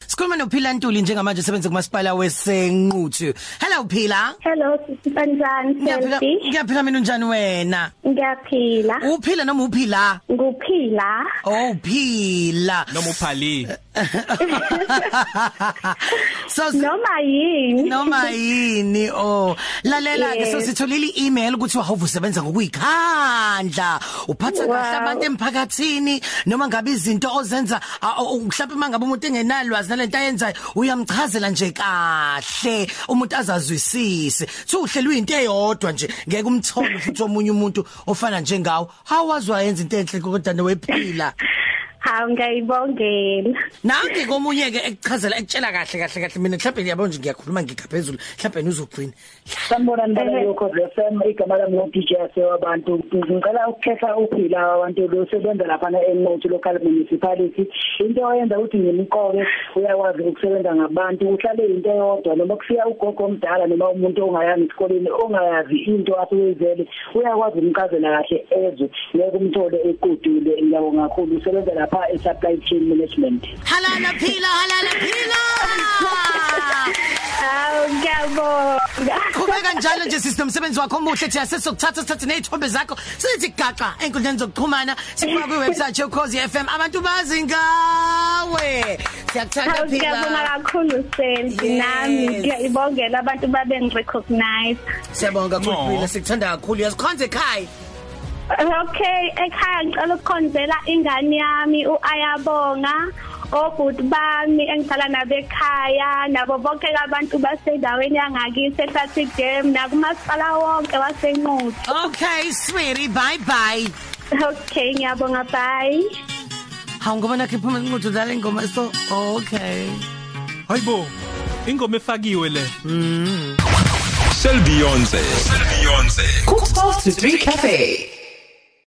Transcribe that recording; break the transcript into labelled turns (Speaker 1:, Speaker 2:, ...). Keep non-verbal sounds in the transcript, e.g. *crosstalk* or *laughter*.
Speaker 1: Sikhuluma noPhila Ntuli njengamanje usebenza kumasipala wesenquthu. Hello Phila.
Speaker 2: Hello sisi Panjani
Speaker 1: Ngiyaphila
Speaker 2: Selfie.
Speaker 1: ngiyaphila mina unjani wena?
Speaker 2: Ngiyaphila.
Speaker 1: Uphila noma uphila?
Speaker 2: Nguphila.
Speaker 1: Oh phila.
Speaker 3: noma uphali
Speaker 1: *laughs* So
Speaker 2: Noma yini.
Speaker 1: noma yini oh lalela ke
Speaker 2: Yes.
Speaker 1: so sitholile i-email ukuthi wahovu usebenza ngokuyikhandla uphatha
Speaker 2: Wow.
Speaker 1: kahle abantu emphakathini noma ngabe izinto ozenza ah, oh, oh, mhlawumbe mangabe umuntu engenalwazi nalento ayenzayo uyamchazela nje kahle umuntu azazwisise so uhlela into eyodwa nje ngeke umthole futhi omunye umuntu ofana njengawo awazi wayenza into enhle kodwa newephila
Speaker 2: Hawu ngiyibongela.
Speaker 1: Nange komunye ke ekuchazela ekutshela kahle kahle kahle mina mhlawumbe yabo nje ngiyakhuluma ngikaphezulu mhlawumbe uzogcina
Speaker 4: Sanibona ndaba yokhozi FM igama lami lo DJ sewabantu ngicela ukukhetha uphila abantu lo sebenza lapha na eNotho local municipality into oyenza ukuthi ngimqoke uyakwazi ukusebenza ngabantu uhlale into eyodwa noma kufika ugogo omdala noma umuntu ongayani esikoleni ongayazi into aseyizele uyakwazi umchazela kahle ezwe ngeke umthole equdule ngiyabonga kakhulu usebenza lapha e-supply chain management
Speaker 1: halala phila halala phila
Speaker 2: Hawu ngiyabonga.
Speaker 1: Qhubeka njalo nje sister umsebenzi wakho omuhle thina sesizokuthatha sithathe nezithombe zakho sithi gaqa enkundleni zokuxhumana sifaka kwiwebsite yokhozi FM abantu bazi ngawe siyakuthanda
Speaker 2: Hawu ngiyabonga
Speaker 1: phila
Speaker 2: kakhulu Selfie
Speaker 1: Yes.
Speaker 2: nami ngiyibongela abantu babengirecognize.
Speaker 1: siyabonga
Speaker 3: No.
Speaker 1: kakhulu phila sikuthanda kakhulu uyazikhonza ekhaya
Speaker 2: Eh, Okay, ekhaya ngicela ukukhonzela ingane yami uAyabonga. obhuti bami engihlala nabo ekhaya nabo bonke abantu basendaweni yangakithi ehlathi dam nakumasipala wonke wasenquthu
Speaker 1: okay sweetie bye bye
Speaker 2: Okay, ngiyabonga bye.
Speaker 1: hawungobona ke phuma inqondo dlala ingoma so okay
Speaker 3: hayibo ingoma efakiwe le
Speaker 5: Selbionze. Selbionze.
Speaker 6: Cook's Close to 3 Cafe.